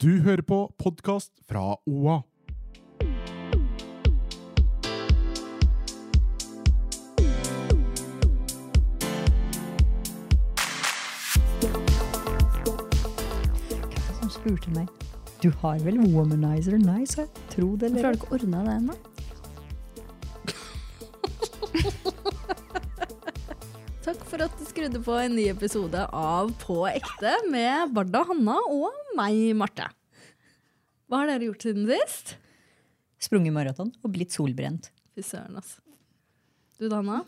Du hører på podkast fra OA. som spurte meg Du har vel womanizer nice, tro det Hvorfor eller har du ikke ordna det ennå? Takk for at du skrudde på en ny episode av På ekte med Barda Hanna og meg, Marte. Hva har dere gjort siden sist? Sprunget maraton og blitt solbrent. Fy søren, altså. Du da, Hanna?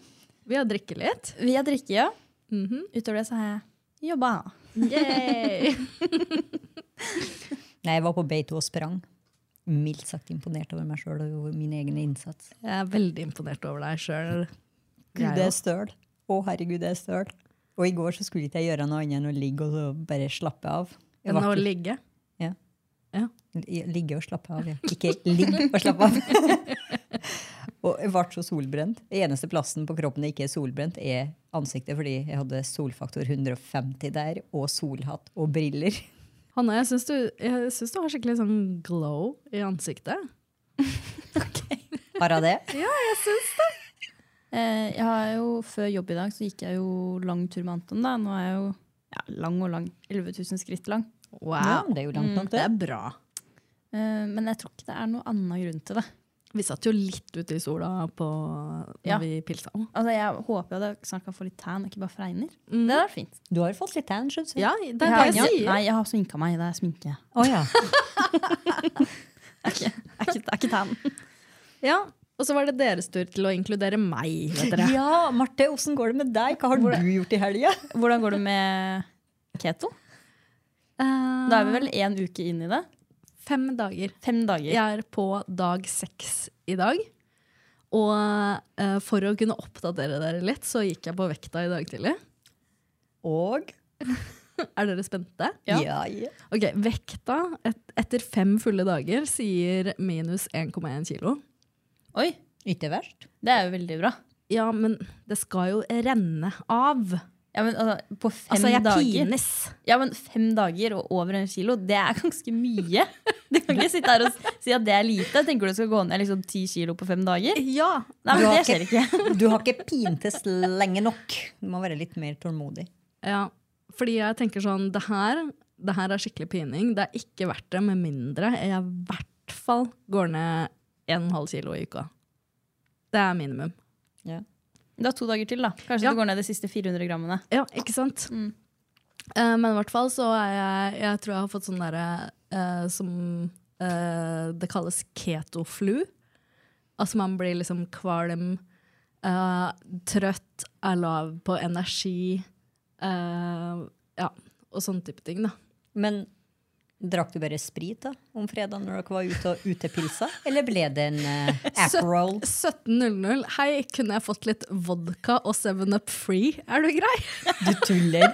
Vi har drikket litt. Vi har drikke, ja. Mhm. Utover det så har jeg jobba. Yay! Nei, jeg var på beito og sprang. Mildt sagt imponert over meg sjøl og over min egen innsats. Jeg er veldig imponert over deg sjøl. Gud, det er støl. Å, herregud, det er støl. Og i går så skulle ikke jeg gjøre noe annet enn å ligge og så bare slappe av. Jeg Enn å var ikke- ligge. Ja. Ja. I- Ligge og slappe av, ja. Ikke ligge og slappe av. og jeg ble så solbrent. Den eneste plassen på kroppen det ikke er solbrent, er ansiktet, fordi jeg hadde solfaktor 150 der, og solhatt og briller. Hanna, jeg syns du, jeg syns du har skikkelig sånn glow i ansiktet. Har jeg det? Eh, jeg har jo, før jobb i dag så gikk jeg jo lang tur med Anton. da. Nå er jeg jo ja, lang og lang. 11 000 skritt lang. Ja, Wow. Mm, men det er jo langt nok, Det det. er bra. Eh, men jeg tror ikke det er noen annen grunn til det. Vi satt jo litt ute i sola på, når Ja. vi pilsa. Altså, Jeg håper jo at jeg snart kan få litt tan, ikke bare fregner. Mm. Det hadde vært fint. Du har fått litt tan, skjønner du. Ja, det er har- det jeg sier. Nei, jeg har sminka meg. Det er sminke. Å ja. Det er ikke, det er ikke, det er ikke tan. Ja, og så var det deres tur til å inkludere meg. Vet dere. ja, Marte, åssen går det med deg? Hva har du gjort i helga? Hvordan går det med keto? Da er vi vel én uke inn i det. Fem dager. Fem dager. Jeg er på dag seks i dag. Og eh, for å kunne oppdatere dere litt, så gikk jeg på vekta i dag tidlig. Og Er dere spente? Ja. ja, ja. Ok, Vekta et, etter fem fulle dager sier minus 1,1 kilo. Oi, Ikke verst. det er jo veldig bra. Ja, men det skal jo renne av. Ja, men altså, på fem Altså, jeg dager pines. Ja, men fem dager og over en kilo, det er ganske mye. Du kan ikke sitte her og si at det er lite. Tenker du skal gå ned liksom ti kilo på fem dager? Ja. Nei, men Du har det skjer ikke. Du har ikke pintes lenge nok. Du må være litt mer tålmodig. Ja, fordi jeg tenker sånn Det her, det her er skikkelig pining. Det er ikke verdt det med mindre jeg i hvert fall går ned 1,5 kilo i uka. Det er minimum. Du har to dager til, da. Kanskje Ja. du går ned de siste 400 grammene. Ja, ikke sant? Mm. Eh, men i hvert fall så er jeg Jeg tror jeg har fått sånn derre eh, som eh, det kalles ketoflu. Altså man blir liksom kvalm, eh, trøtt, er lav på energi. eh, ja, og sånne type ting, da. Men drakk du bare sprit da, om fredagen når dere var ute og utepilsa? Eller ble det en uh, Aperol? 17.00. Hei, kunne jeg fått litt vodka og 7up free? Er du grei? Du tuller.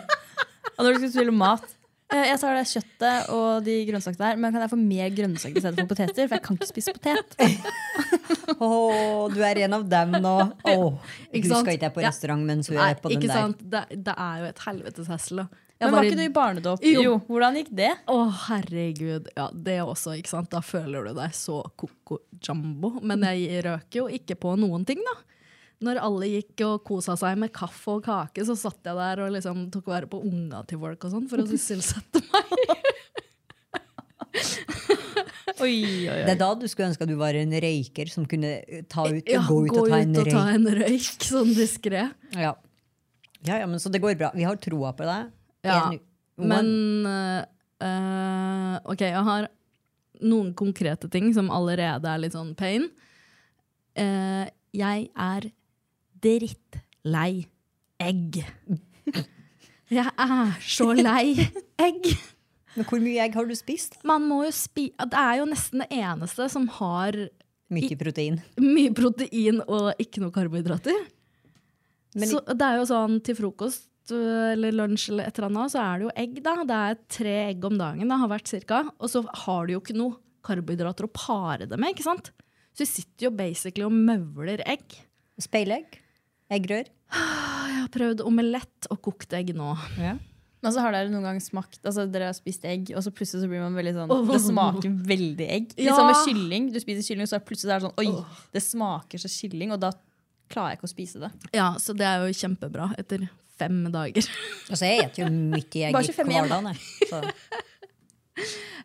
Og når du skal spille mat eh, Jeg tar det kjøttet og de grønnsakene der, men kan jeg få mer grønnsaker i stedet for poteter? For jeg kan ikke spise potet. Åh, du er en av dem nå. Åh, du Ikke sant? skal ikke på Ja. restaurant mens du Nei, er på den ikke der. sant? Det, det er jo et helvetes hessel. da. Jeg Men var var i- ikke du i barnedåp? Jo. Jo. Hvordan gikk det? Å, herregud. Ja, det også, ikke sant? Da føler du deg så koko jumbo. Men jeg røk jo ikke på noen ting, da. Når alle gikk og kosa seg med kaffe og kake, så satt jeg der og liksom tok vare på unga til folk og sånn for å sysselsette meg. Oi, oi, Det er da du skulle ønske at du var en røyker som kunne eh, ta ut, Eh, Ja, gå ut og ta en og ta røyk. en røyk, sånn diskré. Ja. ja, ja, men så det går bra. Vi har troa på deg. Ja, En- Men eh, eh, Ok, jeg har noen konkrete ting som allerede er litt sånn pain. Eh, jeg er drittlei egg. Jeg er så lei egg. Men hvor mye egg har du spist? Man må jo spi det er jo nesten det eneste som har Mye protein. mye protein og ikke noe karbohydrater. Men så det er jo sånn til frokost øh, eller lunsj eller et eller annet, så er det jo egg. da. Det er tre egg om dagen, det har vært cirka. Og så har du jo ikke noe karbohydrater å pare det med. ikke sant? Så du sitter jo basically og møvler egg. Speilegg? Eggrør? Jeg har prøvd omelett og kokt egg nå. Men så har dere noen gang smakt altså Dere har spist egg, og så plutselig så blir man veldig sånn Det smaker veldig egg. Ja. Litt sånn med kylling. Du spiser kylling, og så er det plutselig så er det sånn Oi, det smaker så kylling, og da klarer jeg ikke å spise det. Ja, Så det er jo kjempebra etter fem dager. Altså, jeg spiser jo mye egg Bare i 25 igjen. hverdagen. jeg. Så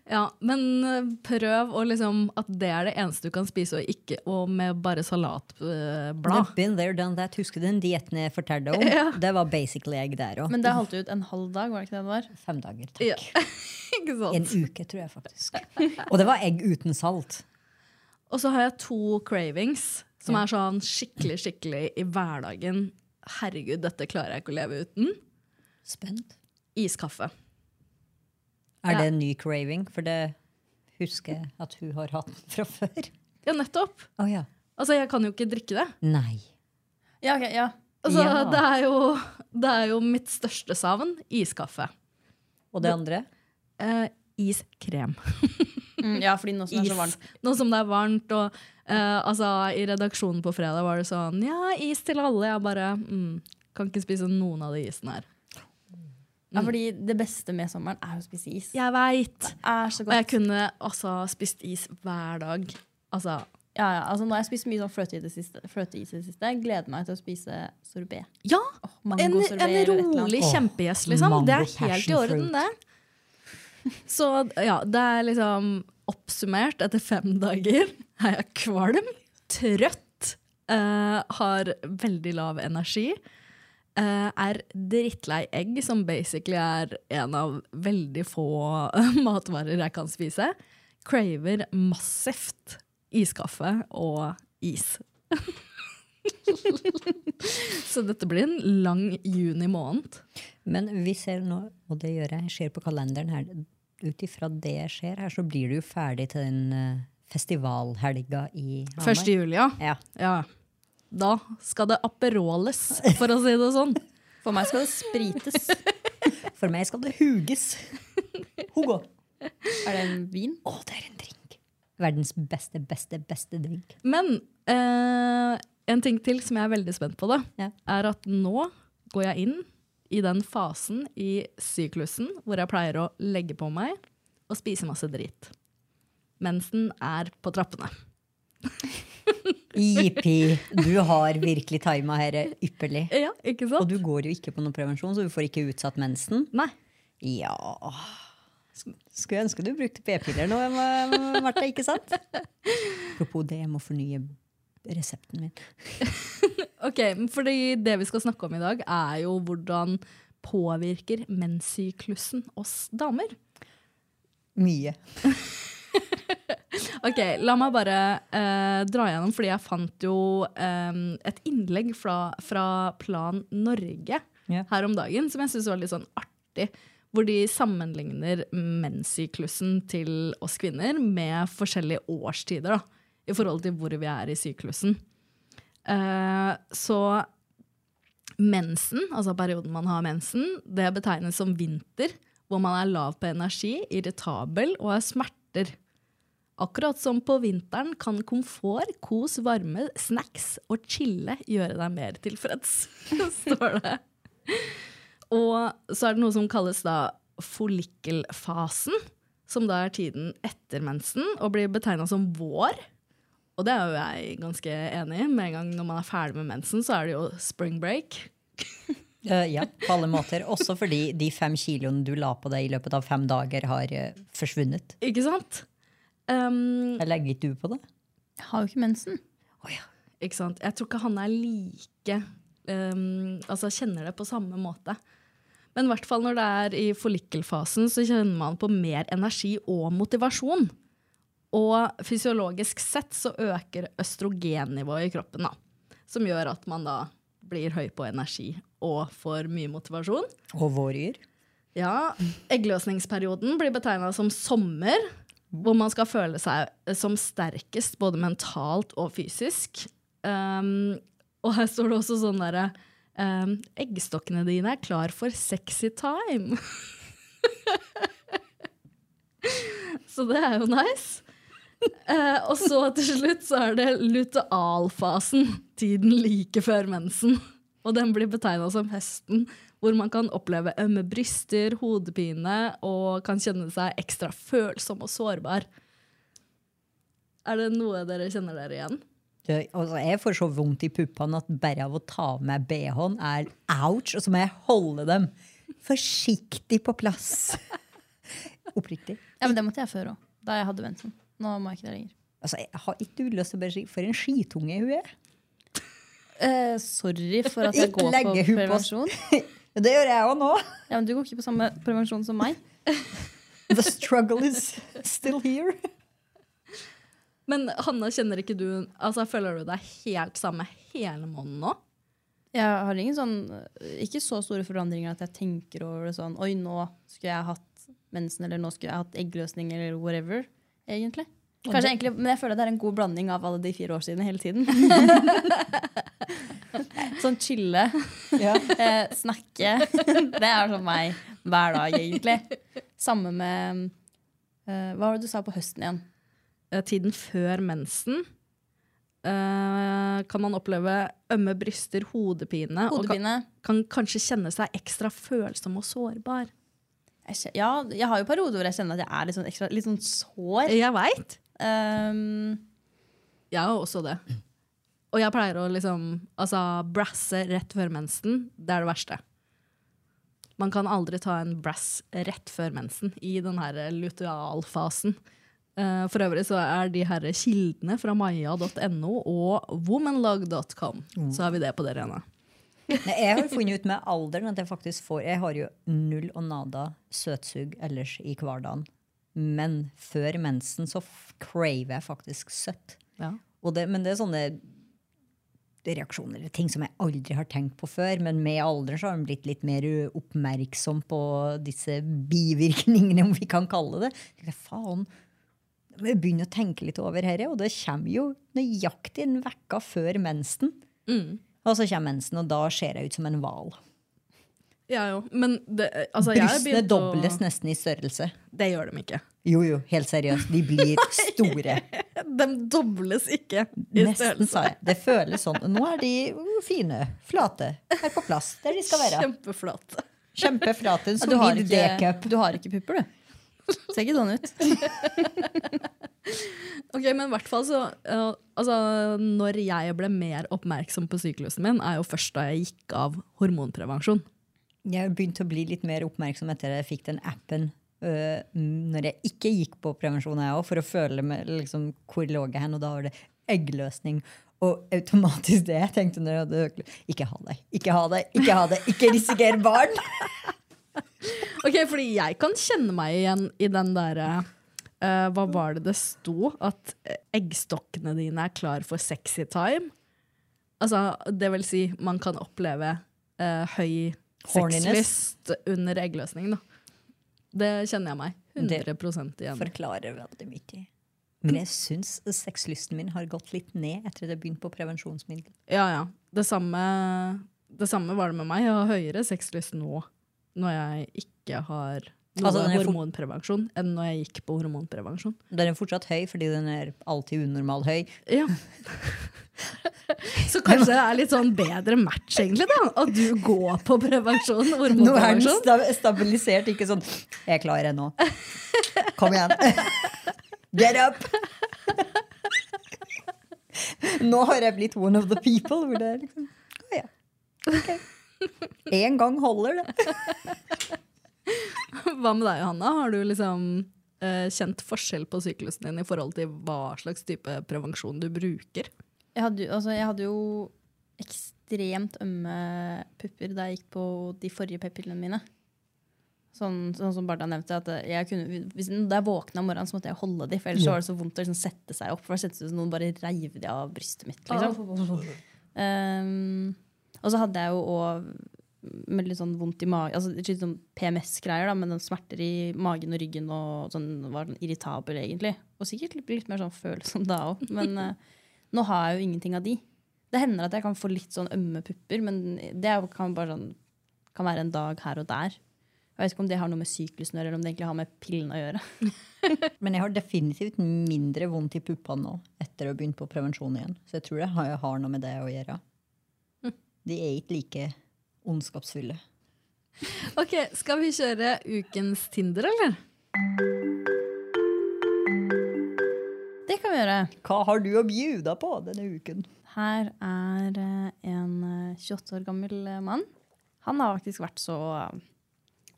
Ja, Men øh, prøv å liksom at det er det eneste du kan spise, og ikke og med bare salatblad. I've been there, done that. Husker du den dietten jeg fortalte om? Det var basically egg der òg. Men det holdt du ut en halv dag, var det ikke det det var? Fem dager, takk. Ja. ikke sant? En uke, tror jeg faktisk. Og det var egg uten salt. Og så har jeg to cravings som er sånn skikkelig, skikkelig i hverdagen. Herregud, dette klarer jeg ikke å leve uten. Spent. Iskaffe. Er det en ny craving? For det husker jeg at hun har hatt fra før. Ja, nettopp. Å ja. Altså, jeg kan jo ikke drikke det. Nei. Ja, ok, ja. Altså, Ja. det, er jo, det er jo mitt største savn. Iskaffe. Og det andre? Eh, iskrem. Mm, ja, fordi nå som det er så varmt. Nå som det er varmt, og eh, altså, i redaksjonen på fredag var det sånn Ja, is til alle. Jeg bare mm, kan ikke spise noen av de isene her. Ja, fordi det beste med sommeren er jo å spise is. Jeg veit! Er så Og jeg godt. kunne altså spist is hver dag. Altså Ja, ja, altså nå har jeg spist mye sånn fløte i det siste. Fløteis i det siste. Jeg gleder meg til å spise sorbé. Ja! Åh, En, mangosorbet en eller et eller annet. rolig Åh, kjempegjest, liksom. mango Det er helt i passion orden, det. Så ja, det er liksom oppsummert etter fem dager. Er jeg kvalm, trøtt, eh, har veldig lav energi. eh, er drittlei egg, som basically er en av veldig få matvarer jeg kan spise. Craver massivt iskaffe og is. Så dette blir en lang juni måned. Men vi ser nå, og det gjør jeg, jeg ser på kalenderen her, ut ifra det jeg ser her, så blir du jo ferdig til den eh, festivalhelga i Hamar. 1. juli, ja. Ja. ja. Da skal det aperoles, for å si det sånn. For meg skal det sprites. For meg skal det huges. Hugo. Er det en vin? Å, det er en drink. Verdens beste, beste, beste drink. Men eh, en ting til som jeg er veldig spent på, da, Ja. er at nå går jeg inn i den fasen i syklusen hvor jeg pleier å legge på meg og spise masse drit. Mensen er på trappene. Jippi. Du har virkelig tima her ypperlig. Ja, ikke Og sant? du går jo ikke på noen prevensjon, så du får ikke utsatt mensen. Nei. Ja Sk- Skulle jeg ønske du brukte p-piller nå, Emma- Martha, ikke sant? Apropos det, jeg må fornye resepten min. Ok, men fordi Det vi skal snakke om i dag, er jo hvordan påvirker menssyklusen oss damer. Mye. Ok, La meg bare eh, dra gjennom, fordi jeg fant jo eh, et innlegg fra, fra Plan Norge Ja. her om dagen som jeg syns var litt sånn artig. Hvor de sammenligner menssyklusen til oss kvinner med forskjellige årstider. da, I forhold til hvor vi er i syklusen. Eh, så mensen, altså perioden man har mensen, det betegnes som vinter, hvor man er lav på energi, irritabel og har smerter. Akkurat som på vinteren kan komfort, kos, varme, snacks og chille gjøre deg mer tilfreds, står det. Og så er det noe som kalles da follikkelfasen, som da er tiden etter mensen og blir betegna som vår. Og det er jo jeg ganske enig i. Med en gang når man er ferdig med mensen, så er det jo spring break. Eh, ja, på alle måter. Også fordi de fem kiloene du la på deg i løpet av fem dager, har eh, forsvunnet. Ikke sant? Um, Eller legget du på det? Jeg har jo ikke mensen. ikke sant? Jeg tror ikke han er like um, Altså kjenner det på samme måte. Men i hvert fall når det er i forlikkelfasen, så kjenner man på mer energi og motivasjon. Og fysiologisk sett så øker østrogennivået i kroppen, da. Som gjør at man da blir høy på energi og får mye motivasjon. Og våryr? Ja, eggløsningsperioden blir betegna som sommer, hvor man skal føle seg eh, som sterkest både mentalt og fysisk. Um, og her står det også sånn derre um, Eggstokkene dine er klar for sexy time. så det er jo nice. Eh, og så til slutt så er det lutealfasen, tiden like før mensen. Og den blir betegna som høsten, hvor man kan oppleve ømme bryster, hodepine og kan kjenne seg ekstra følsom og sårbar. Er det noe dere kjenner dere igjen? Det- Altså, jeg får så vondt i puppene at bare av å ta av meg BH-en er ouch, og så må jeg holde dem forsiktig på plass. Oppriktig. Ja, men Det måtte jeg før òg, da jeg hadde mensen. Nå må jeg ikke det lenger. Altså, jeg har ikke lyst til å bare si for en skitunge hun er. Eh, sorry for at jeg Ikke går på legge hun på oss. prevensjon. Det gjør jeg òg nå. Ja, men Du går ikke på samme prevensjon som meg. The struggle is still here. Men Hanne, kjenner ikke du altså Føler du deg helt samme hele måneden nå? Jeg har ingen sånn, ikke så store forandringer at jeg tenker over det sånn Oi, nå skulle jeg hatt mensen, eller nå skulle jeg hatt eggløsning, eller whatever. egentlig. Kanskje egentlig, Men jeg føler det er en god blanding av alle de fire årsidene hele tiden. sånn chille, Ja. eh, snakke. Det er sånn meg hver dag, egentlig. Samme med eh, Hva var det du sa på høsten igjen? eh, tiden før mensen eh, kan man oppleve ømme bryster, hodepine, og Hodepine? kan, kan kanskje kjenne seg ekstra følsom og sårbar. Jeg kje- ja, jeg har jo perioder hvor jeg kjenner at jeg er litt sånn, ekstra, litt sånn sår. Jeg veit! Um, Jeg har også det. Og jeg pleier å liksom altså, brasse rett før mensen. Det er det verste. Man kan aldri ta en brass rett før mensen i den her lutealfasen. Eh, for øvrig så er de her kildene fra maya.no og womanlog.com. Mm. Så har vi det på det rene. Nei, jeg har funnet ut med alderen at jeg faktisk får Jeg har jo null og nada søtsug ellers i hverdagen. Men før mensen så f- craver jeg faktisk søtt. Ja. Og det, men det er sånne reaksjoner eller ting som jeg aldri har tenkt på før. Men med alderen så har man blitt litt mer uh, oppmerksom på disse bivirkningene, om vi kan kalle det. Jeg tenkte, faen, jeg begynner å tenke litt over dette, og det kommer jo nøyaktig en vekka før mensen. Mm. Og så kommer mensen, og da ser jeg ut som en hval. Ja, jo. Men det, altså, jeg har Brystene begynt å- dobles nesten i størrelse. Det gjør de ikke. Jo, jo, helt seriøst. De blir store. De dobles ikke i Nesten, størrelse. sa jeg. Det føles sånn. Nå er de uh, fine, flate, er på plass der de skal være. Kjempeflate. Kjempeflate, en Ja, du, har solid ikke, D-cup. du har ikke pupper, du. Ser ikke sånn ut. Ok, men i hvert fall så eh, altså, Når jeg ble mer oppmerksom på syklusen min, er jo først da jeg gikk av hormonprevensjon. Jeg begynte å bli litt mer oppmerksom etter jeg fikk den appen. øh, mm, når jeg ikke gikk på prevensjon, jeg også, for å føle med, liksom, hvor lå jeg hen. Og da var det eggløsning. Og automatisk det jeg tenkte når jeg hadde øklo- Ikke ha det, ikke ha det, ikke ha det, ikke risiker barn! Ok, fordi jeg kan kjenne meg igjen i den derre eh, Hva var det det sto? At eh, eggstokkene dine er klar for sexy time. Altså, det vil si, man kan oppleve eh, høy Horniness. sexlyst under eggløsning, da. Det kjenner jeg meg 100 igjen i. Forklarer veldig mye. Men jeg syns sexlysten min har gått litt ned etter at jeg begynte på prevensjonsmiddel. Ja, ja. Det samme, det samme var det med meg. Jeg har høyere sexlyst nå når jeg ikke har noe Altså, den er for- hormonprevensjon, enn når jeg gikk på hormonprevensjon. Den er fortsatt høy fordi den er alltid unormal høy. Ja. Så kanskje det er litt sånn bedre match, egentlig, da. At du går på prevensjon, Nå er den hormonprevensjon. sta stabilisert, ikke sånn 'Jeg klarer det nå'. Kom igjen. Get up! Nå har jeg blitt one of the people. Hvor det er liksom Å ja. Ok. Én gang holder det. Hva med deg, Hanna? Har du liksom eh, kjent forskjell på syklusen din i forhold til hva slags type prevensjon du bruker? Jeg hadde, jo- altså, jeg hadde jo ekstremt ømme pupper da jeg gikk på de forrige p-pillene mine. Sånn, sånn som Barda nevnte, at jeg kunne, hvis, da jeg våkna om morgenen, så måtte jeg holde de, for ellers så var det så vondt å liksom sette seg opp. For da kjentes det ut som noen bare reiv Ehm, de av brystet mitt. Liksom. Um, og så hadde jeg jo òg med litt sånn vondt i magen. Altså, litt sånn PMS-greier, da, men den smerter i magen og ryggen og sånn, var sånn irritabel, egentlig. Og sikkert litt, litt mer sånn følsom da òg. Men eh, nå har jeg jo ingenting av de. Det hender at jeg kan få litt sånn ømme pupper, men det er jo- kan, bare sånn, kan være en dag her og der. Jeg vet ikke om det har noe med syklusen å gjøre, eller om det egentlig har med pillen å gjøre. Men jeg har definitivt mindre vondt i puppene nå etter å ha begynt på prevensjon igjen. Så jeg tror det har, har noe med det å gjøre. De er ikke like ondskapsfulle. Ok, Skal vi kjøre ukens Tinder, eller? Det kan vi gjøre. Hva har du å bjuda på denne uken? Her er eh, en eh, 28 år gammel eh, mann. Han har faktisk vært så eh,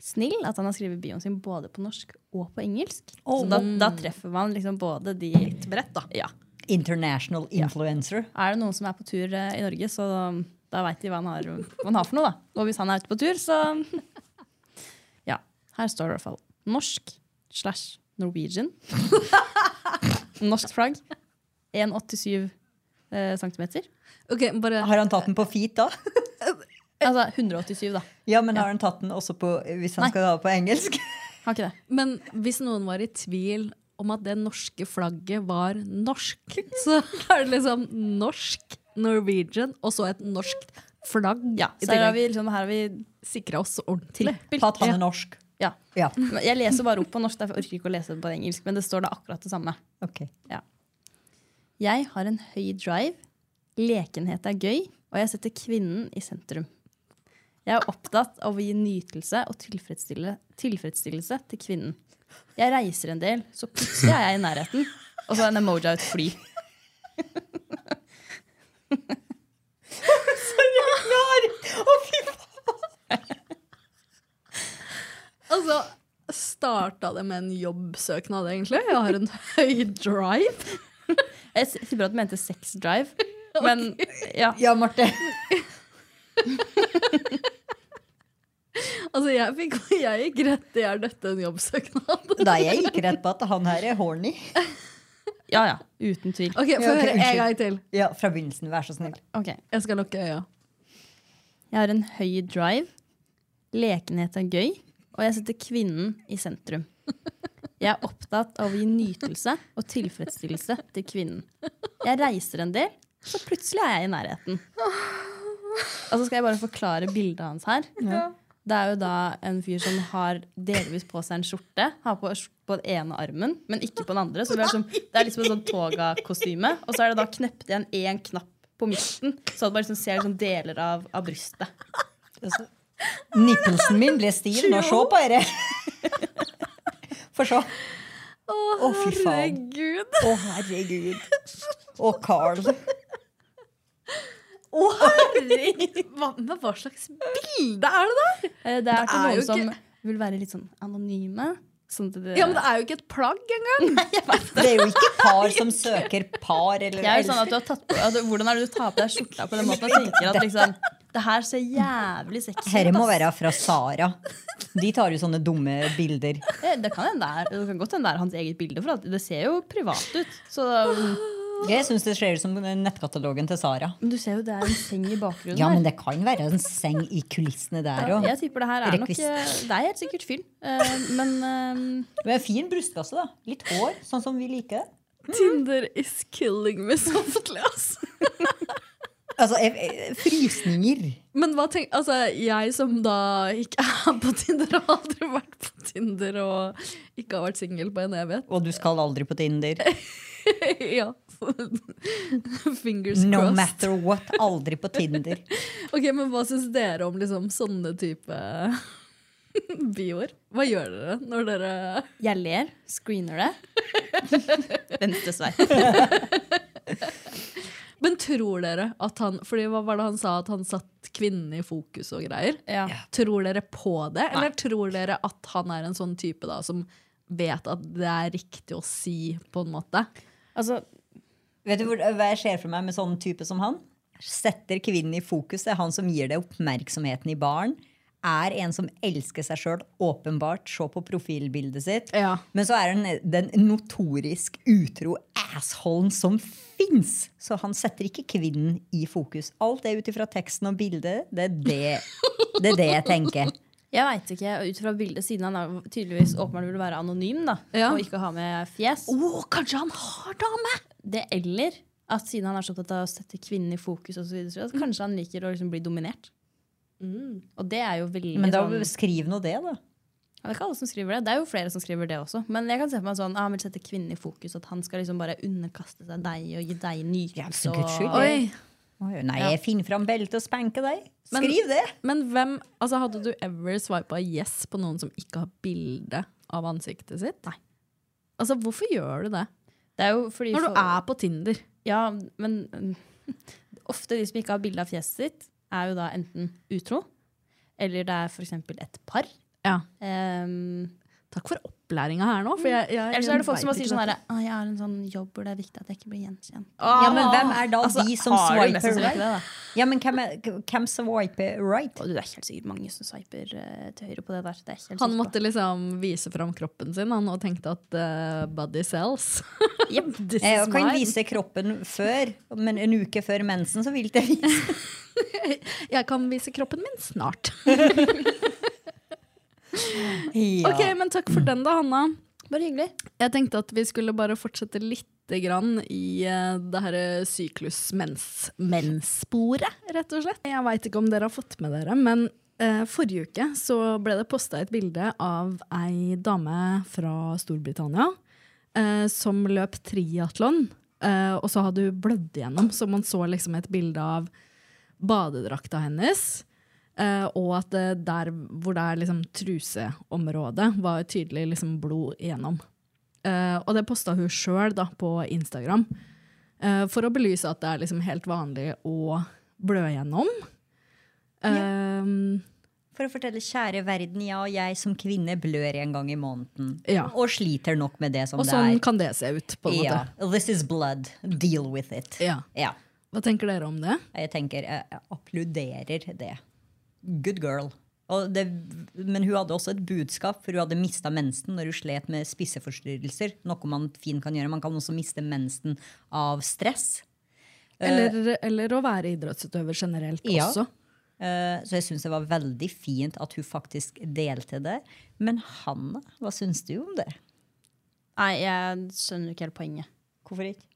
snill at han har skrevet bioen sin både på norsk og på engelsk. så da, da treffer man liksom både de Oh. Litt bredt, da. Ja. International influencer. Er det noen som er på tur eh, i Norge, så da veit de hva han, har, hva han har for noe. da. Og hvis han er ute på tur, så Ja. Her står det i hvert fall norsk slash Norwegian. Norsk flagg. 1,87 eh, centimeter. Ok, bare Har han tatt den på feet da? Altså 187, da. Ja, men har han tatt den også på, hvis han Nei. skal ha på engelsk? Har ikke det. Men hvis noen var i tvil om at det norske flagget var norsk, så er det liksom norsk, Norwegian og så et norsk flagg. Ja, I så her har tillegg vi, liksom, her har vi sikra oss ordentlig. trippel. At han er norsk? Ja. Ja, Men Jeg leser bare opp på norsk, derfor orker jeg ikke å lese det på engelsk. Men det står da akkurat det samme. ok. Jeg har en høy drive, lekenhet er gøy, og jeg setter kvinnen i sentrum. Jeg er opptatt av å gi nytelse og tilfredsstille, tilfredsstillelse til kvinnen. Jeg reiser en del, så plutselig er jeg i nærheten. Og så er en emoji av et fly. Altså, starta det med en jobbsøknad, egentlig? Jeg har en høy drive. Jeg s- tipper at du mente sex drive, men ja. Ja, Marte. Altså, jeg, fikk, jeg gikk rett i er dette en jobbsøknad. Da jeg gikk rett på at han her er horny. Ja ja, uten tvil. Ok, Få ok, høre en unnskyld. gang til. Ja, fra begynnelsen, vær så snill. Ok. Jeg skal lukke øya. Jeg har en høy drive. Lekenhet er gøy. Og jeg setter kvinnen i sentrum. Jeg er opptatt av å gi nytelse og tilfredsstillelse til kvinnen. Jeg reiser en del, så plutselig er jeg i nærheten. Og så skal jeg bare forklare bildet hans her. Det er jo da en fyr som har delvis på seg en skjorte. Har på, på den ene armen, men ikke på den andre. Så det er, som, det er liksom en sånn toga-kostyme. Og så er det da knept igjen én knapp på midten, så at man liksom ser liksom deler av, av brystet. Altså, Nippelsen min ble stiv nå. Se på dette! For så. Å, fy faen. Herregud. Å, herregud. Å, Carl. Hva, men hva slags bilde er det der? Eh, Det er til er noen jo som ikke- vil være litt sånn anonyme. Sånn at det, Ja, men det er jo ikke et plagg engang. Det er jo ikke par som søker par, eller det er jo sånn at du har tatt på, at, Hvordan er det du tar på deg skjorta på den måten og tenker at liksom, det her ser jævlig sexy Dette må ass. være fra Sara. De tar jo sånne dumme bilder. Eh, Det kan, hende det er- det kan godt hende det er hans eget bilde, for at det ser jo privat ut. Så, um, Jeg syns det ser ut som nettkatalogen til Sara. men du ser jo det er en seng i bakgrunnen Ja, men her. det kan være en seng i kulissene der òg. Jeg tipper det her er nok Rekvisitt. eh, Det er helt sikkert fyren. Eh, Men eh, Men fin brystkasse, da. Litt hår, sånn som vi liker det. Tinder is killing me softly, ass. Altså, jeg- jeg- frysninger. Men hva tenk, altså, jeg som da ikke er på Tinder og aldri har vært på Tinder og ikke har vært singel på en evighet Og du skal aldri på Tinder. ja. Fingers No crossed. matter what. Aldri på Tinder. Ok, Men hva syns dere om liksom, sånne type bioer? Hva gjør dere når dere jeg ler, screener det. Venstresveis. Men tror dere at han Fordi hva var det han sa? At han satt kvinnen i fokus og greier? Ja. Tror dere på det, eller tror dere at han er en sånn type da, som vet at det er riktig å si, på en måte? Altså, Vet du hvor, hva jeg ser for meg med sånn type som han? Setter kvinnen i fokus. Det er han som gir deg oppmerksomheten i baren. Er en som elsker seg sjøl, åpenbart. Se på profilbildet sitt. Ja. Men så er han den notorisk utro assholen som fins! Så han setter ikke kvinnen i fokus. Alt er ut ifra teksten og bildet. Det er det, det, er det jeg tenker. Jeg veit ikke, ut fra bildet, siden han er, tydeligvis åpenbart vil være anonym da, Ja. og ikke ha med fjes. Å, kanskje han har dame! Det eller at siden han er så opptatt av å sette kvinnen i fokus, og så videre, så videre, at kanskje han liker å liksom bli dominert. Mm. Og det er jo veldig Men da sånn skriv nå det, da. ja, Det er ikke alle som skriver det. Det er jo flere som skriver det også. Men jeg kan se for meg sånn, ah, han vil sette kvinnen i fokus, at han skal liksom bare underkaste seg deg og gi deg Ja, nytelse. for Guds skyld. og- Oi. Oi, Nei, jeg finner fram beltet og spenker deg. Men- Skriv det! Men hvem, altså hadde du ever swipa yes på noen som ikke har bilde av ansiktet sitt? Nei. Altså, hvorfor gjør du det? Det er jo fordi Når du for- er på Tinder. Ja, men mm, ofte de som ikke har bilde av fjeset sitt, er jo da enten utro, eller det er for eksempel et par. Ja. Ehm, Takk for opplæringa her nå. For jeg, jeg, eller så er det folk som vet sier ikke sånn dette. herre «Å, 'Jeg har en sånn jobb hvor det er viktig at jeg ikke blir gjenkjent'. Ja, men hvem er da Altså, de som har du mest swiper sannsynlig ikke right? det, da? Ja, men hvem, er, hvem swiper right? Og du, det er helt sikkert mange som sveiper eh, til høyre på det der. Det er jeg helt Han sikker måtte liksom vise fram kroppen sin han, og tenkte at eh, body sells. på. Jep. Jeg Eh, kan mine. vise kroppen før, men en uke før mensen så vil jeg ikke vise. Jeg kan vise kroppen min snart. Ja. Ok, men takk for den da, Hanna. Bare hyggelig. Jeg tenkte at vi skulle bare fortsette litt grann i eh, det her syklus-mens-sporet, rett og slett. Jeg veit ikke om dere har fått med dere, men eh, forrige uke så ble det posta et bilde av ei dame fra Storbritannia eh, som løp triatlon, eh, og så hadde hun blødd igjennom, så man så liksom et bilde av badedrakta hennes. eh, og at eh, der hvor det er liksom truseområdet, var tydelig liksom blod igjennom. Eh, og det posta hun sjøl på Instagram. eh, for å belyse at det er liksom helt vanlig å blø gjennom. Eh, For å fortelle kjære verden, ja, jeg som kvinne blør en gang i måneden. Ja. Og sliter nok med det som og det sånn er. kan det se ut, på en ja. måte. This is blood. Deal with it. Ja. Ja. Hva tenker dere om det? Jeg tenker, jeg jeg applauderer det. Good girl. Og det, men hun hadde også et budskap, for hun hadde mista mensen når hun slet med spiseforstyrrelser. Noe man fint kan gjøre. Man kan også miste mensen av stress. Eller, eller å være idrettsutøver generelt Eh. Ja. også. Eh, Så jeg syns det var veldig fint at hun faktisk delte det. Men Hanna, hva syns du om det? Nei, jeg skjønner ikke helt poenget. Hvorfor ikke?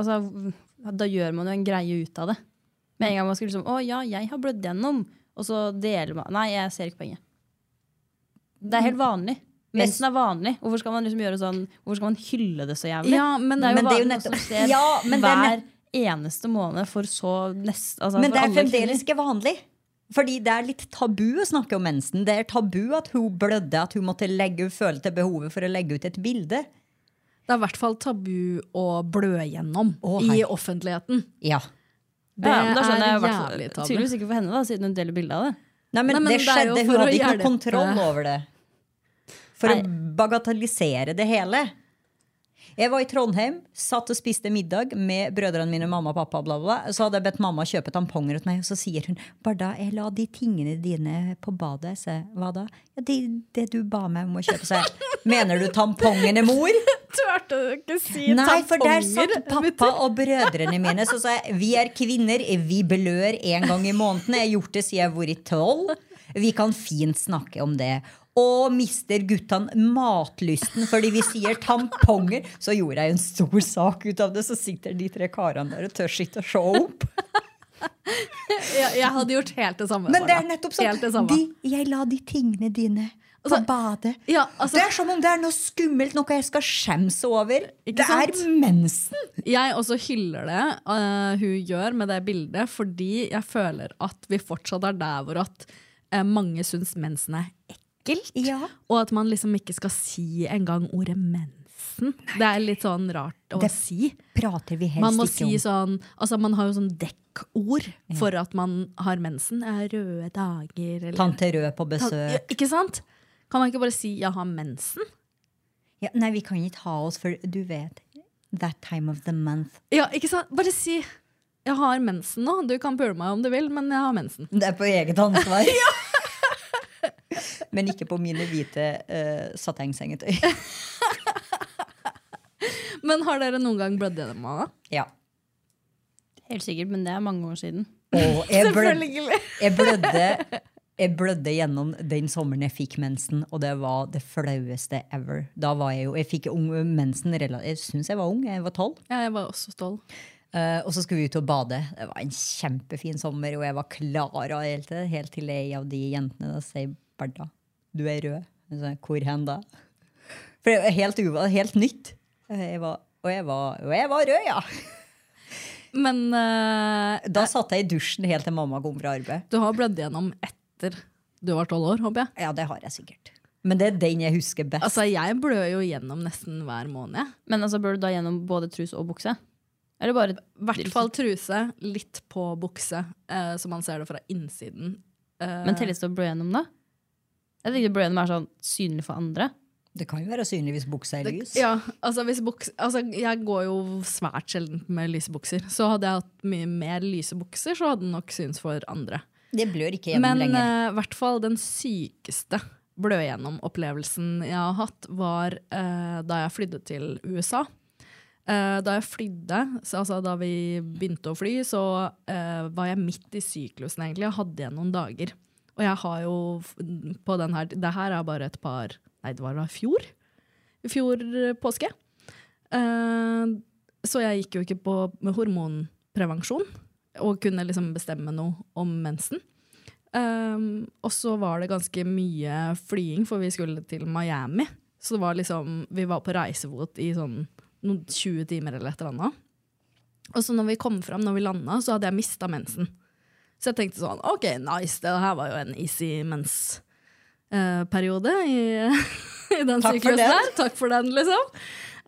altså, v- da gjør man jo en greie ut av det. Med en gang man skulle liksom Å ja, jeg har blødd gjennom. Og så deler man Nei, jeg ser ikke poenget. Det er helt vanlig. Men- Mensen er vanlig. Hvorfor skal man liksom gjøre sånn Hvorfor skal man hylle det så jævlig? Ja, men det er jo Men det er jo vanlig nettopp- som skjer Ja, men det er hver eneste måned for så nest, altså, Men for det er alle fremdeles kvinner. ikke vanlig. Fordi det er litt tabu å snakke om mensen. Det er tabu at hun blødde, at hun måtte legge, hun følte behovet for å legge ut et bilde. Det er i hvert fall tabu å blø gjennom Å, i hei. offentligheten. Ja. Det ja, men da skjønner jeg i er hvert fall- jævlig tabu. Tydeligvis ikke for henne, da, siden hun deler bilde av det. Nei, men, Nei, men det det er jo skjedde. for Hun å hadde ikke hjelpe. noe kontroll over det. For Nei. å bagatellisere det hele. Jeg var i Trondheim, satt og spiste middag med brødrene mine, mamma og pappa. Bla, bla, bla. Så hadde jeg bedt mamma kjøpe tamponger til meg, og så sier hun Barda, jeg la de tingene dine på badet. Så jeg, hva da? Ja, det, det du ba meg om å kjøpe. Så jeg, mener du tampongene, mor? Turte du ikke si Nei, for der satt tamponger? pappa og brødrene mine. Så sa jeg vi er kvinner, vi blør en gang i måneden. Jeg har gjort det siden jeg har vært tolv. Vi kan fint snakke om det. Og mister guttene matlysten fordi vi sier tamponger? Så gjorde jeg en stor sak ut av det. Så sitter de tre karene der og tør ikke å se opp. Jeg, jeg hadde gjort helt det samme. Men det er Sara. nettopp Helt det sånn. samme. De, jeg la de tingene dine på Altså, badet. ja, altså- det er som om det er noe skummelt, noe jeg skal skjemmes over. Ikke Det er mensen. Jeg også hyller det eh, hun gjør med det bildet, fordi jeg føler at vi fortsatt er der hvor at eh, mange syns mensen er ekkelt. Ja. Og at man liksom ikke skal si engang ordet mensen. Det er litt sånn rart å Det- si. Prater vi helst Man må ikke si om. sånn Altså, man har jo sånn dekkord for at man har mensen. Eh, Røde dager eller Tante Rød på Ja, besøk. Ikke sant? Kan man ikke bare si 'jeg har mensen'? Ja, nei, vi kan ikke ha oss, for du vet That time of the month. Ja, ikke sant? Bare si 'jeg har mensen nå'. Du kan pule meg om du vil, men jeg har mensen. Det er på eget ansvar. Men eh, ikke på mine hvite uh, satengsengetøy. Men har dere noen gang blødd gjennom henne? Ja. Helt sikkert, men det er mange år siden. Og jeg, blød, jeg, blødde, jeg blødde gjennom den sommeren jeg fikk mensen, og det var det flaueste ever. Da var Jeg jo, jeg fikk ung, mensen, rela- jeg syns jeg var ung, jeg var tolv. Ja, jeg var også tolv. Eh, og så skulle vi ut og bade. Det var en kjempefin sommer, og jeg var klar av helt, til- helt til ei av de jentene da sier Berda, du er rød. Jeg sa, Hvor hen da? For det var helt, uva- helt nytt. Jeg var, og, jeg var, og jeg var rød, ja! Men eh, Da satt jeg i dusjen helt til mamma kom fra arbeid. du har blødd gjennom etter du var tolv år, håper jeg. Ja, det har jeg sikkert. Men det er den jeg husker best. Altså, jeg blør jo gjennom nesten hver måned. jeg. Men altså, bør du da gjennom både trus og bukse? Eller bare I hvert fall truse, litt på bukse, eh, så man ser det fra innsiden. Eh, Men telles det å blø gjennom, da? Jeg tenker blø gjennom er sånn synlig for andre. det kan jo være synlig hvis buksa er det- lys. Ja, altså, hvis buks, altså, jeg går jo svært sjelden med lyse bukser. Så hadde jeg hatt mye mer lyse bukser, så hadde den nok syns for andre. Det blør ikke gjennom Men eh, i lenger. hvert fall den sykeste blø-gjennom-opplevelsen jeg har hatt, var eh, da jeg flydde til USA. Eh, da jeg flydde, så, altså da vi begynte å fly, så eh, var jeg midt i syklusen egentlig, og hadde igjen noen dager. Og jeg har jo f- på den her, det her er bare et par, nei det var da i fjor, i fjor eh, påske. Eh, så jeg gikk jo ikke på med hormonprevensjon, og kunne liksom bestemme noe om mensen. Um, og så var det ganske mye flying, for vi skulle til Miami. Så det var liksom, vi var på reisefot i sånn noen 20 timer eller et eller annet. Og så når vi kom fram, når vi landa, så hadde jeg mista mensen. Så jeg tenkte sånn, ok, nice, det her var jo en easy mens-periode i, i den Takk for syklusen den. der. Takk for den, liksom.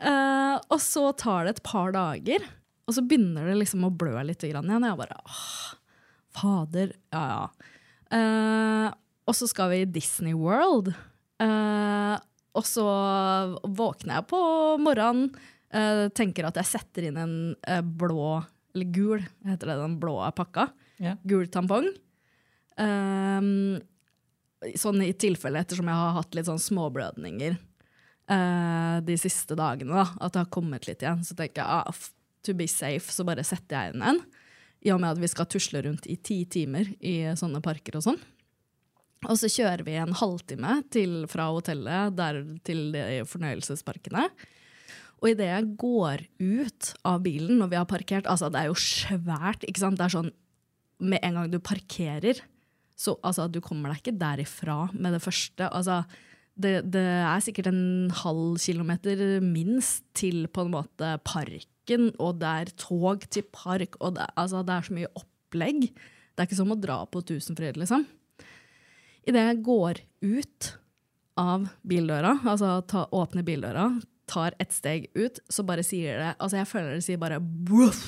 Eh, og så tar det et par dager, og så begynner det liksom å blø litt grann igjen. Og jeg bare, åh, fader, ja ja. Eh, og så skal vi i Disney World. Eh, og så våkner jeg på morgenen, eh, tenker at jeg setter inn en eh, blå, eller gul, heter det den blå pakka, Ja. gul tampong. Eh, sånn i tilfelle, ettersom jeg har hatt litt sånn småblødninger eh, de siste dagene, da, at det har kommet litt igjen, så tenker jeg, ah, f- to be safe, så bare setter jeg inn en. I og med at vi skal tusle rundt i ti timer i sånne parker og sånn. Og så kjører vi en halvtime til, fra hotellet der til de fornøyelsesparkene. Og idet jeg går ut av bilen når vi har parkert Altså, det er jo svært, ikke sant? Det er sånn med en gang du parkerer, så altså, du kommer deg ikke derifra med det første. Altså, det, det er sikkert en halv kilometer minst til på en måte parken, og det er tog til park, og det, altså, det er så mye opplegg. Det er ikke som å dra på Tusenfryd, liksom. Idet jeg går ut av bildøra, altså ta, åpner bildøra, tar ett steg ut, så bare sier det Altså, jeg føler det sier bare «Bruff!»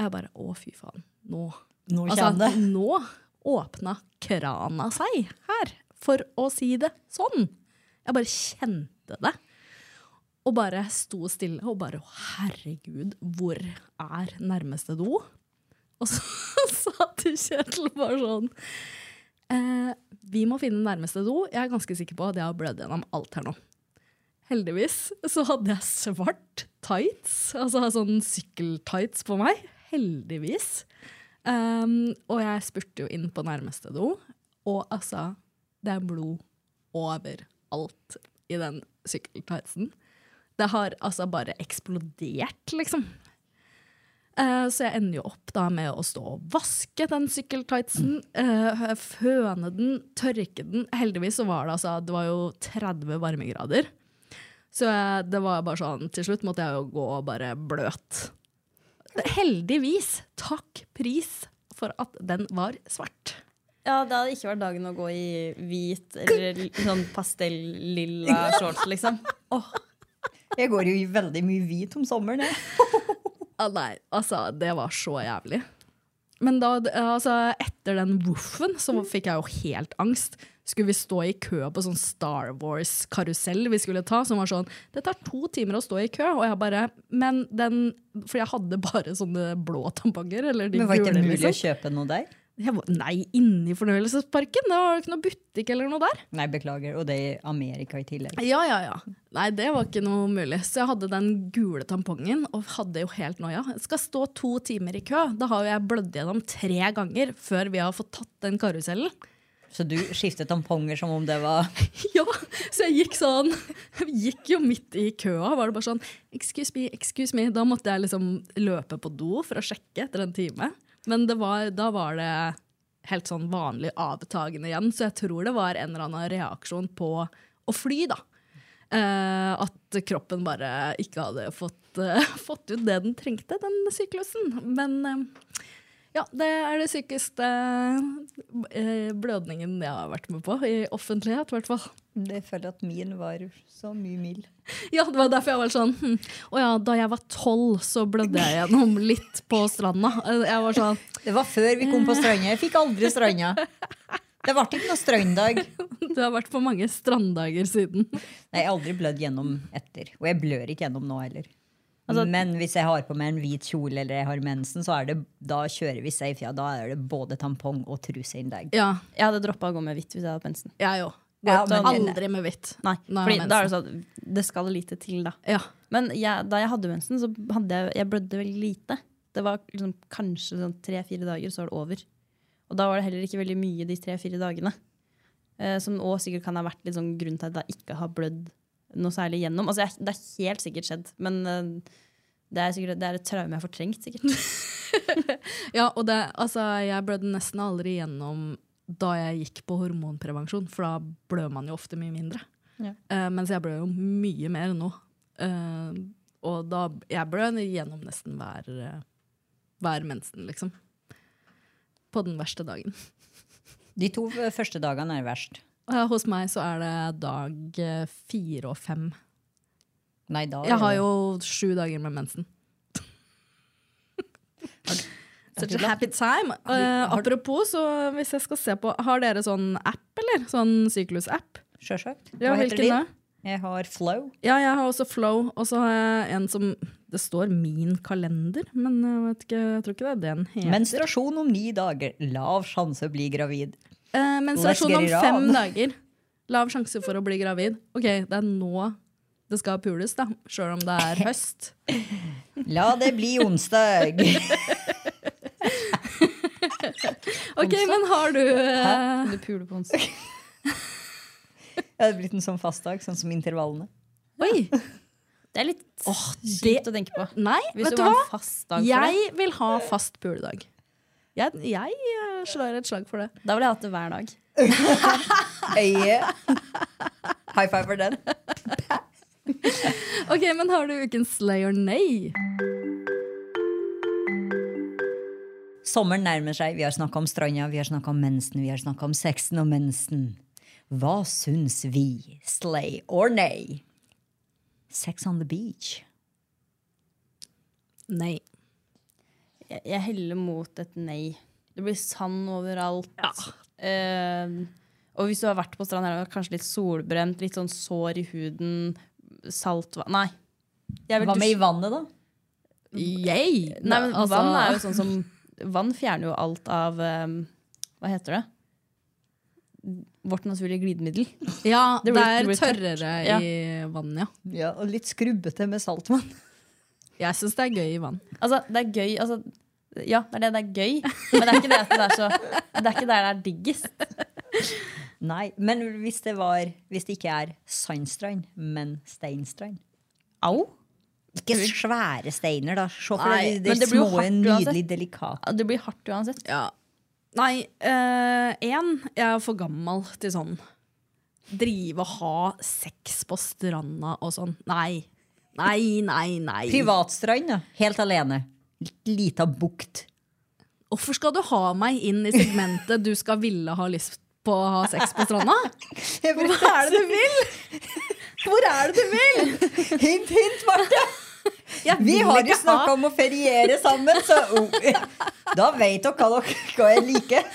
Og jeg bare Å, fy faen. Nå Nå Altså, kjenner jeg nå åpna krana seg her, for å si det sånn. Jeg bare kjente det. Og bare sto stille og bare «Å, Herregud, hvor er nærmeste do? Og så sa til Kjetil bare sånn eh, Vi må finne nærmeste do. Jeg er ganske sikker på at jeg har blødd gjennom alt her nå. Heldigvis så hadde jeg svart tights, altså sånn sykkeltights på meg. Heldigvis. Um, og jeg spurte jo inn på nærmeste do, og altså Det er blod overalt i den sykkeltightsen. Det har altså bare eksplodert, liksom. Eh, så jeg ender jo opp da med å stå og vaske den sykkeltightsen. eh, føne den, tørke den. Heldigvis så var det altså Det var jo 30 varmegrader. Så jeg, det var bare sånn Til slutt måtte jeg jo gå bare bløt. Heldigvis. Takk pris for at den var svart. Ja, det hadde ikke vært dagen å gå i hvit eller sånn pastellilla shorts, liksom. Jeg går jo i veldig mye hvit om sommeren. Jeg. Ah, nei, altså, det var så jævlig. Men da, altså, etter den woofen så fikk jeg jo helt angst. Skulle vi stå i kø på sånn Star Wars-karusell vi skulle ta, som var sånn Det tar to timer å stå i kø, og jeg bare Men den For jeg hadde bare sånne blå tamponger, eller de Men var ikke gule, det mulig å liksom. kjøpe noe der? Jeg var, nei, inni fornøyelsesparken? Det var ikke noe butikk eller noe der. Nei, beklager. Og det er i Amerika i tillegg. Ja, ja, ja. Nei, det var ikke noe mulig. Så jeg hadde den gule tampongen og hadde jo helt noia. Jeg skal stå to timer i kø. Da har jo jeg blødd gjennom tre ganger før vi har fått tatt den karusellen. Så du skiftet tamponger som om det var Ja, så jeg gikk sånn. Jeg gikk jo midt i køa. Var det bare sånn Excuse me, excuse me. Da måtte jeg liksom løpe på do for å sjekke etter en time. Men det var, da var det helt sånn vanlig avtagende igjen, så jeg tror det var en eller annen reaksjon på å fly, da. Eh, at kroppen bare ikke hadde fått, eh, fått ut det den trengte, den syklusen. Men eh, ja, det er det sykeste eh, blødningen jeg har vært med på, i offentlighet i hvert fall. Jeg føler at min var så mye mild. Ja, det var derfor jeg var sånn hm. Å ja, da jeg var tolv, så blødde jeg gjennom litt på stranda. Jeg var sånn Det var før vi kom på stranda. Jeg fikk aldri stranda. Det ble ikke noe stranddag. Du har vært på mange stranddager siden. Nei, jeg har aldri blødd gjennom etter. Og jeg blør ikke gjennom nå heller. Altså- Men hvis jeg har på meg en hvit kjole eller jeg har mensen, så er det, da kjører vi safe. Ja, da er det både tampong og truseinnlegg. Ja, Jeg hadde droppa å gå med hvitt hvis jeg hadde mensen. jeg òg. Ja, Gått men- aldri med hvitt. Nei, Nei, fordi mensen. da er det sånn at det skal lite til, da. Ja. Men jeg, da jeg hadde mensen, så hadde jeg, jeg blødde veldig lite. Det var liksom, kanskje sånn tre-fire dager, så var det over. Og da var det heller ikke veldig mye de tre-fire dagene. Eh, som også sikkert kan ha vært litt sånn grunn til at jeg ikke har blødd noe særlig gjennom. Altså, jeg, det er helt sikkert skjedd, men eh, det, er sikkert, det er et traume jeg har fortrengt, sikkert. ja, og det Altså, jeg blødde nesten aldri gjennom da jeg gikk på hormonprevensjon, for da blør man jo ofte mye mindre. Ja. Eh, mens jeg blør jo mye mer nå. Eh, og da Jeg blør gjennom nesten hver, eh, hver mensen, liksom. På den verste dagen. De to første dagene er verst. Eh, hos meg så er det dag eh, fire og fem. Nei, da er Jeg har det- jo sju dager med mensen. Such a happy time. Eh, apropos, så hvis jeg skal se på Har dere sånn app, eller? Sånn syklusapp? Sjølsagt. Ja, Hva heter hvilken da? de? Jeg har Flow. Ja, jeg har også Flow, og så har jeg en som Det står Min kalender, men jeg, vet ikke, jeg tror ikke det er den heter. Menstruasjon om ni dager. Lav sjanse å bli gravid. Eh, menstruasjon om Let's get it fem on. dager. Lav sjanse for å bli gravid. Ok, det er nå det skal pules, da. Sjøl om det er høst. La det bli onsdag! Ok, men har du eh, Du puler på onsdag. Det hadde blitt en sånn fastdag, sånn som intervallene. Oi! Det er litt det- sykt å tenke på. Nei, Hvis vet du du har hva? en fast dag for det, Jeg vil ha fast puledag. Jeg, jeg eh, slår et slag for det. da ville jeg hatt det hver dag. Øye. High five for den. Ok, men har du ukens slay or nay? Sommeren nærmer seg. Vi har snakka om stranda, vi har snakka om mensen, vi har snakka om sexen og mensen. Hva syns vi? Slay or nay? Sex on the beach. Nei. Jeg, jeg heller mot et nei. Det blir sand overalt. Ja. Eh, og hvis du har vært på stranda, er du kanskje litt solbrent, litt sånn sår i huden, saltvann Nei. Jeg vil Hva med i altså? dusje- vannet, da? Yay! Altså, Nei, men Vann er jo sånn som Vann fjerner jo alt av eh, Hva heter det? Vårt naturlige glidemiddel. Ja, det, Det blir- er det blir tørt. tørrere Ja. i vann, ja. Ja, og Litt skrubbete med saltvann. Jeg syns det er gøy i vann. Altså, det er gøy altså, Ja, det er det det er gøy, men det er ikke det at det er så Det er ikke der det er diggest. Nei, men hvis det, var, hvis det ikke er sandstrand, men steinstrand Au! Ikke svære steiner, da. Se for Nei, deg de, de men det blir jo små, hardt nydelig uansett. delikate. Det blir hardt uansett. Nei, én, jeg er for gammel til sånn. Drive og ha sex på stranda og sånn. Nei. Nei, nei, nei. Privatstrand, da. Helt alene. Lita bukt. Hvorfor skal du ha meg inn i segmentet du skal ville ha lyst på å ha sex på stranda? Hva er det du vil? Hvor er det du vil? Hint, hint, Marte! Jeg Vi vil har ikke jo snakka ha- om å feriere sammen, så oh, da veit dere hva dere hva jeg liker,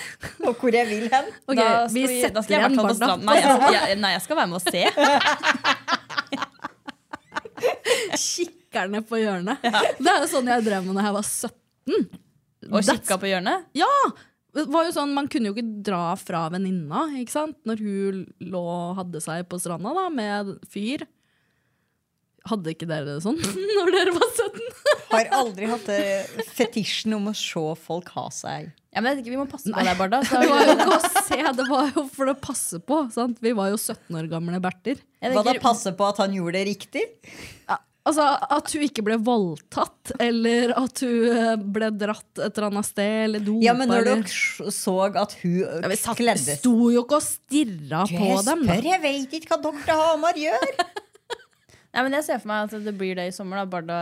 og hvor jeg vil hen. Ok, da, vi skal vi, da setter skal jeg i igjen hvert fall på barna. stranden. Nei, jeg, skal- jeg, nei, jeg skal være med og se. Kikkerne på hjørnet. Det er jo sånn jeg drev med da jeg var 17. Og kikka på hjørnet. Ja! Det var jo sånn, Man kunne jo ikke dra fra venninna ikke sant? når hun lå og hadde seg på stranda da, med fyr. Hadde ikke dere det sånn når dere var 17? Har aldri hatt eh, fetisjen om å se folk ha seg. Ja, men jeg vet ikke, Vi må passe på deg, Barda. Så Det var jo ikke å se, det var jo for å passe på. sant? Vi var jo 17 år gamle berter. Jeg Hva da tenker- passe på at han gjorde det riktig? Altså, At hun ikke ble voldtatt, eller at hun eh, ble dratt et eller annet sted, eller dopa. Ja, men når eller- dere s- så at hun eh, ja, vi satt, kledde sto jo ikke og stirra på Jeg dem. spør, jeg vet ikke hva dere fra Hamar gjør! Nei, men Jeg ser for meg at det blir det i sommer. da Barda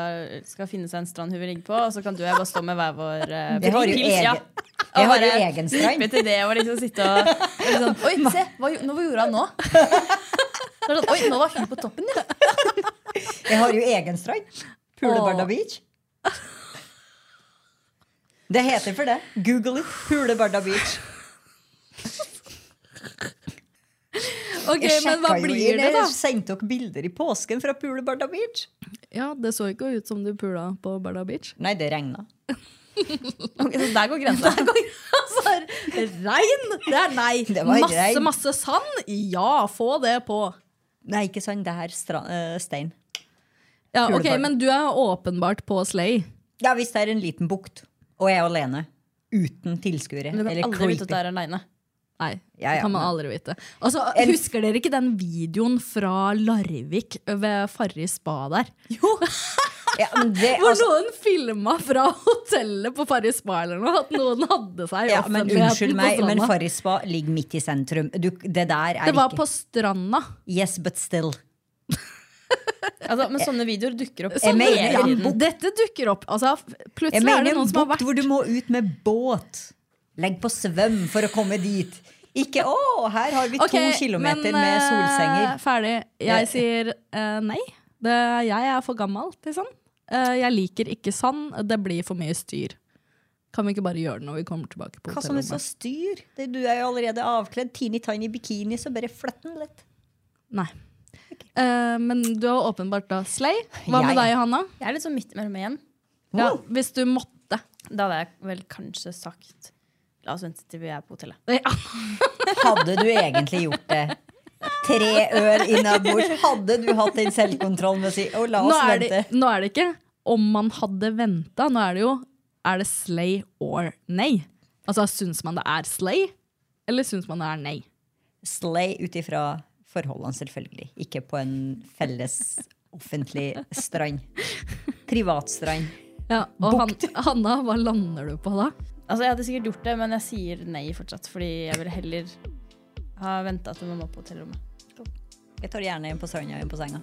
skal finne seg en strand hun vil ligge på, og så kan du og jeg bare stå med hver vår eh, Jeg har jo pils, ja. egen- jeg har jo Og bare egen strand. Slippe til det og liksom sitte og liksom, Oi, se! Hva, gjo- nå, hva gjorde han nå? Så er det sånn, Oi, nå var hun på toppen, ja. Jeg har jo egen strand. Pulebarda Åh. Beach. Det heter for det. Google it. Pulebarda Beach. Ok, Jeg Men hva sjekket jo i- blir det, da? Jeg sendte dere bilder i påsken fra Pulebarda Beach. Ja, Det så ikke ut som du pula på Barda Beach. Nei, det regna. Ok, så der går grensa. Altså, regn! Det er nei. Det var masse, regn. masse sand? Ja, få det på. Nei, ikke sant. Det er stra- eh, stein. Ja, ok, Pulebarn. Men du er åpenbart på Slay. Ja, hvis det er en liten bukt, og jeg er alene, uten tilskuere Men du eller kan aldri vite creepy at du er aleine. Nei, Ja, ja, det kan man men- aldri vite. Altså, En- Husker dere ikke den videoen fra Larvik ved Farris spa der? ja, men det, Hvor altså, noen filma fra hotellet på Farris spa eller noe, at noen hadde seg i ja, men offentligheten Unnskyld meg, på men stranda. Farris spa ligger midt i sentrum. Du, det der er Det var ikke på stranda. Yes, but still. Altså, men sånne videoer dukker opp. Jeg mener hele en tiden. bukt. Sånn Dette dukker opp. Altså, f- Jeg plutselig er mener det en noen som har bukt vært hvor du må ut med båt. Legg på svøm for å komme dit. Ikke 'å, her har vi Ok, to kilometer men, med eh, solsenger'. Ferdig. Det- Jeg sier eh, nei. Det, jeg er for gammel, liksom. Eh, jeg liker ikke sand. Det blir for mye styr. Kan vi ikke bare gjøre det når vi kommer tilbake på Hva som helst å hotellrommet? styr? Det, du er jo allerede avkledd. Teeny tiny bikini, så bare flytt den litt. Nei. Eh, men du er åpenbart da slay. Hva med Jeg- deg, Hanna? Jeg er litt sånn midt mellom igjen. Ja, hvis du måtte. Da hadde jeg vel kanskje sagt La oss vente til vi er på hotellet. Ja. Hadde du egentlig gjort det? Tre øl innabords. Hadde du hatt den selvkontrollen med å si 'å, la Nå oss er, det, vente'? nå er det ikke om man hadde venta. Nå er det jo er det slay or nei. Altså, Syns man det er slay, eller syns man det er nei? Slay ut ifra forholdene, selvfølgelig. Ikke på en felles offentlig strand. Privatstrand. Ja, og han, Hanna, hva lander du på da? Altså, Jeg hadde sikkert gjort det, men jeg sier nei fortsatt. Fordi jeg ville heller ha venta til man var på hotellrommet. Jeg tar gjerne en på stranda og en på senga.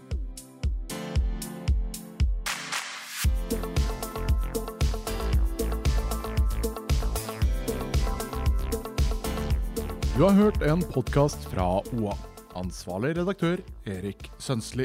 Du har hørt en podkast fra OA. Ansvarlig redaktør Erik Sønsli.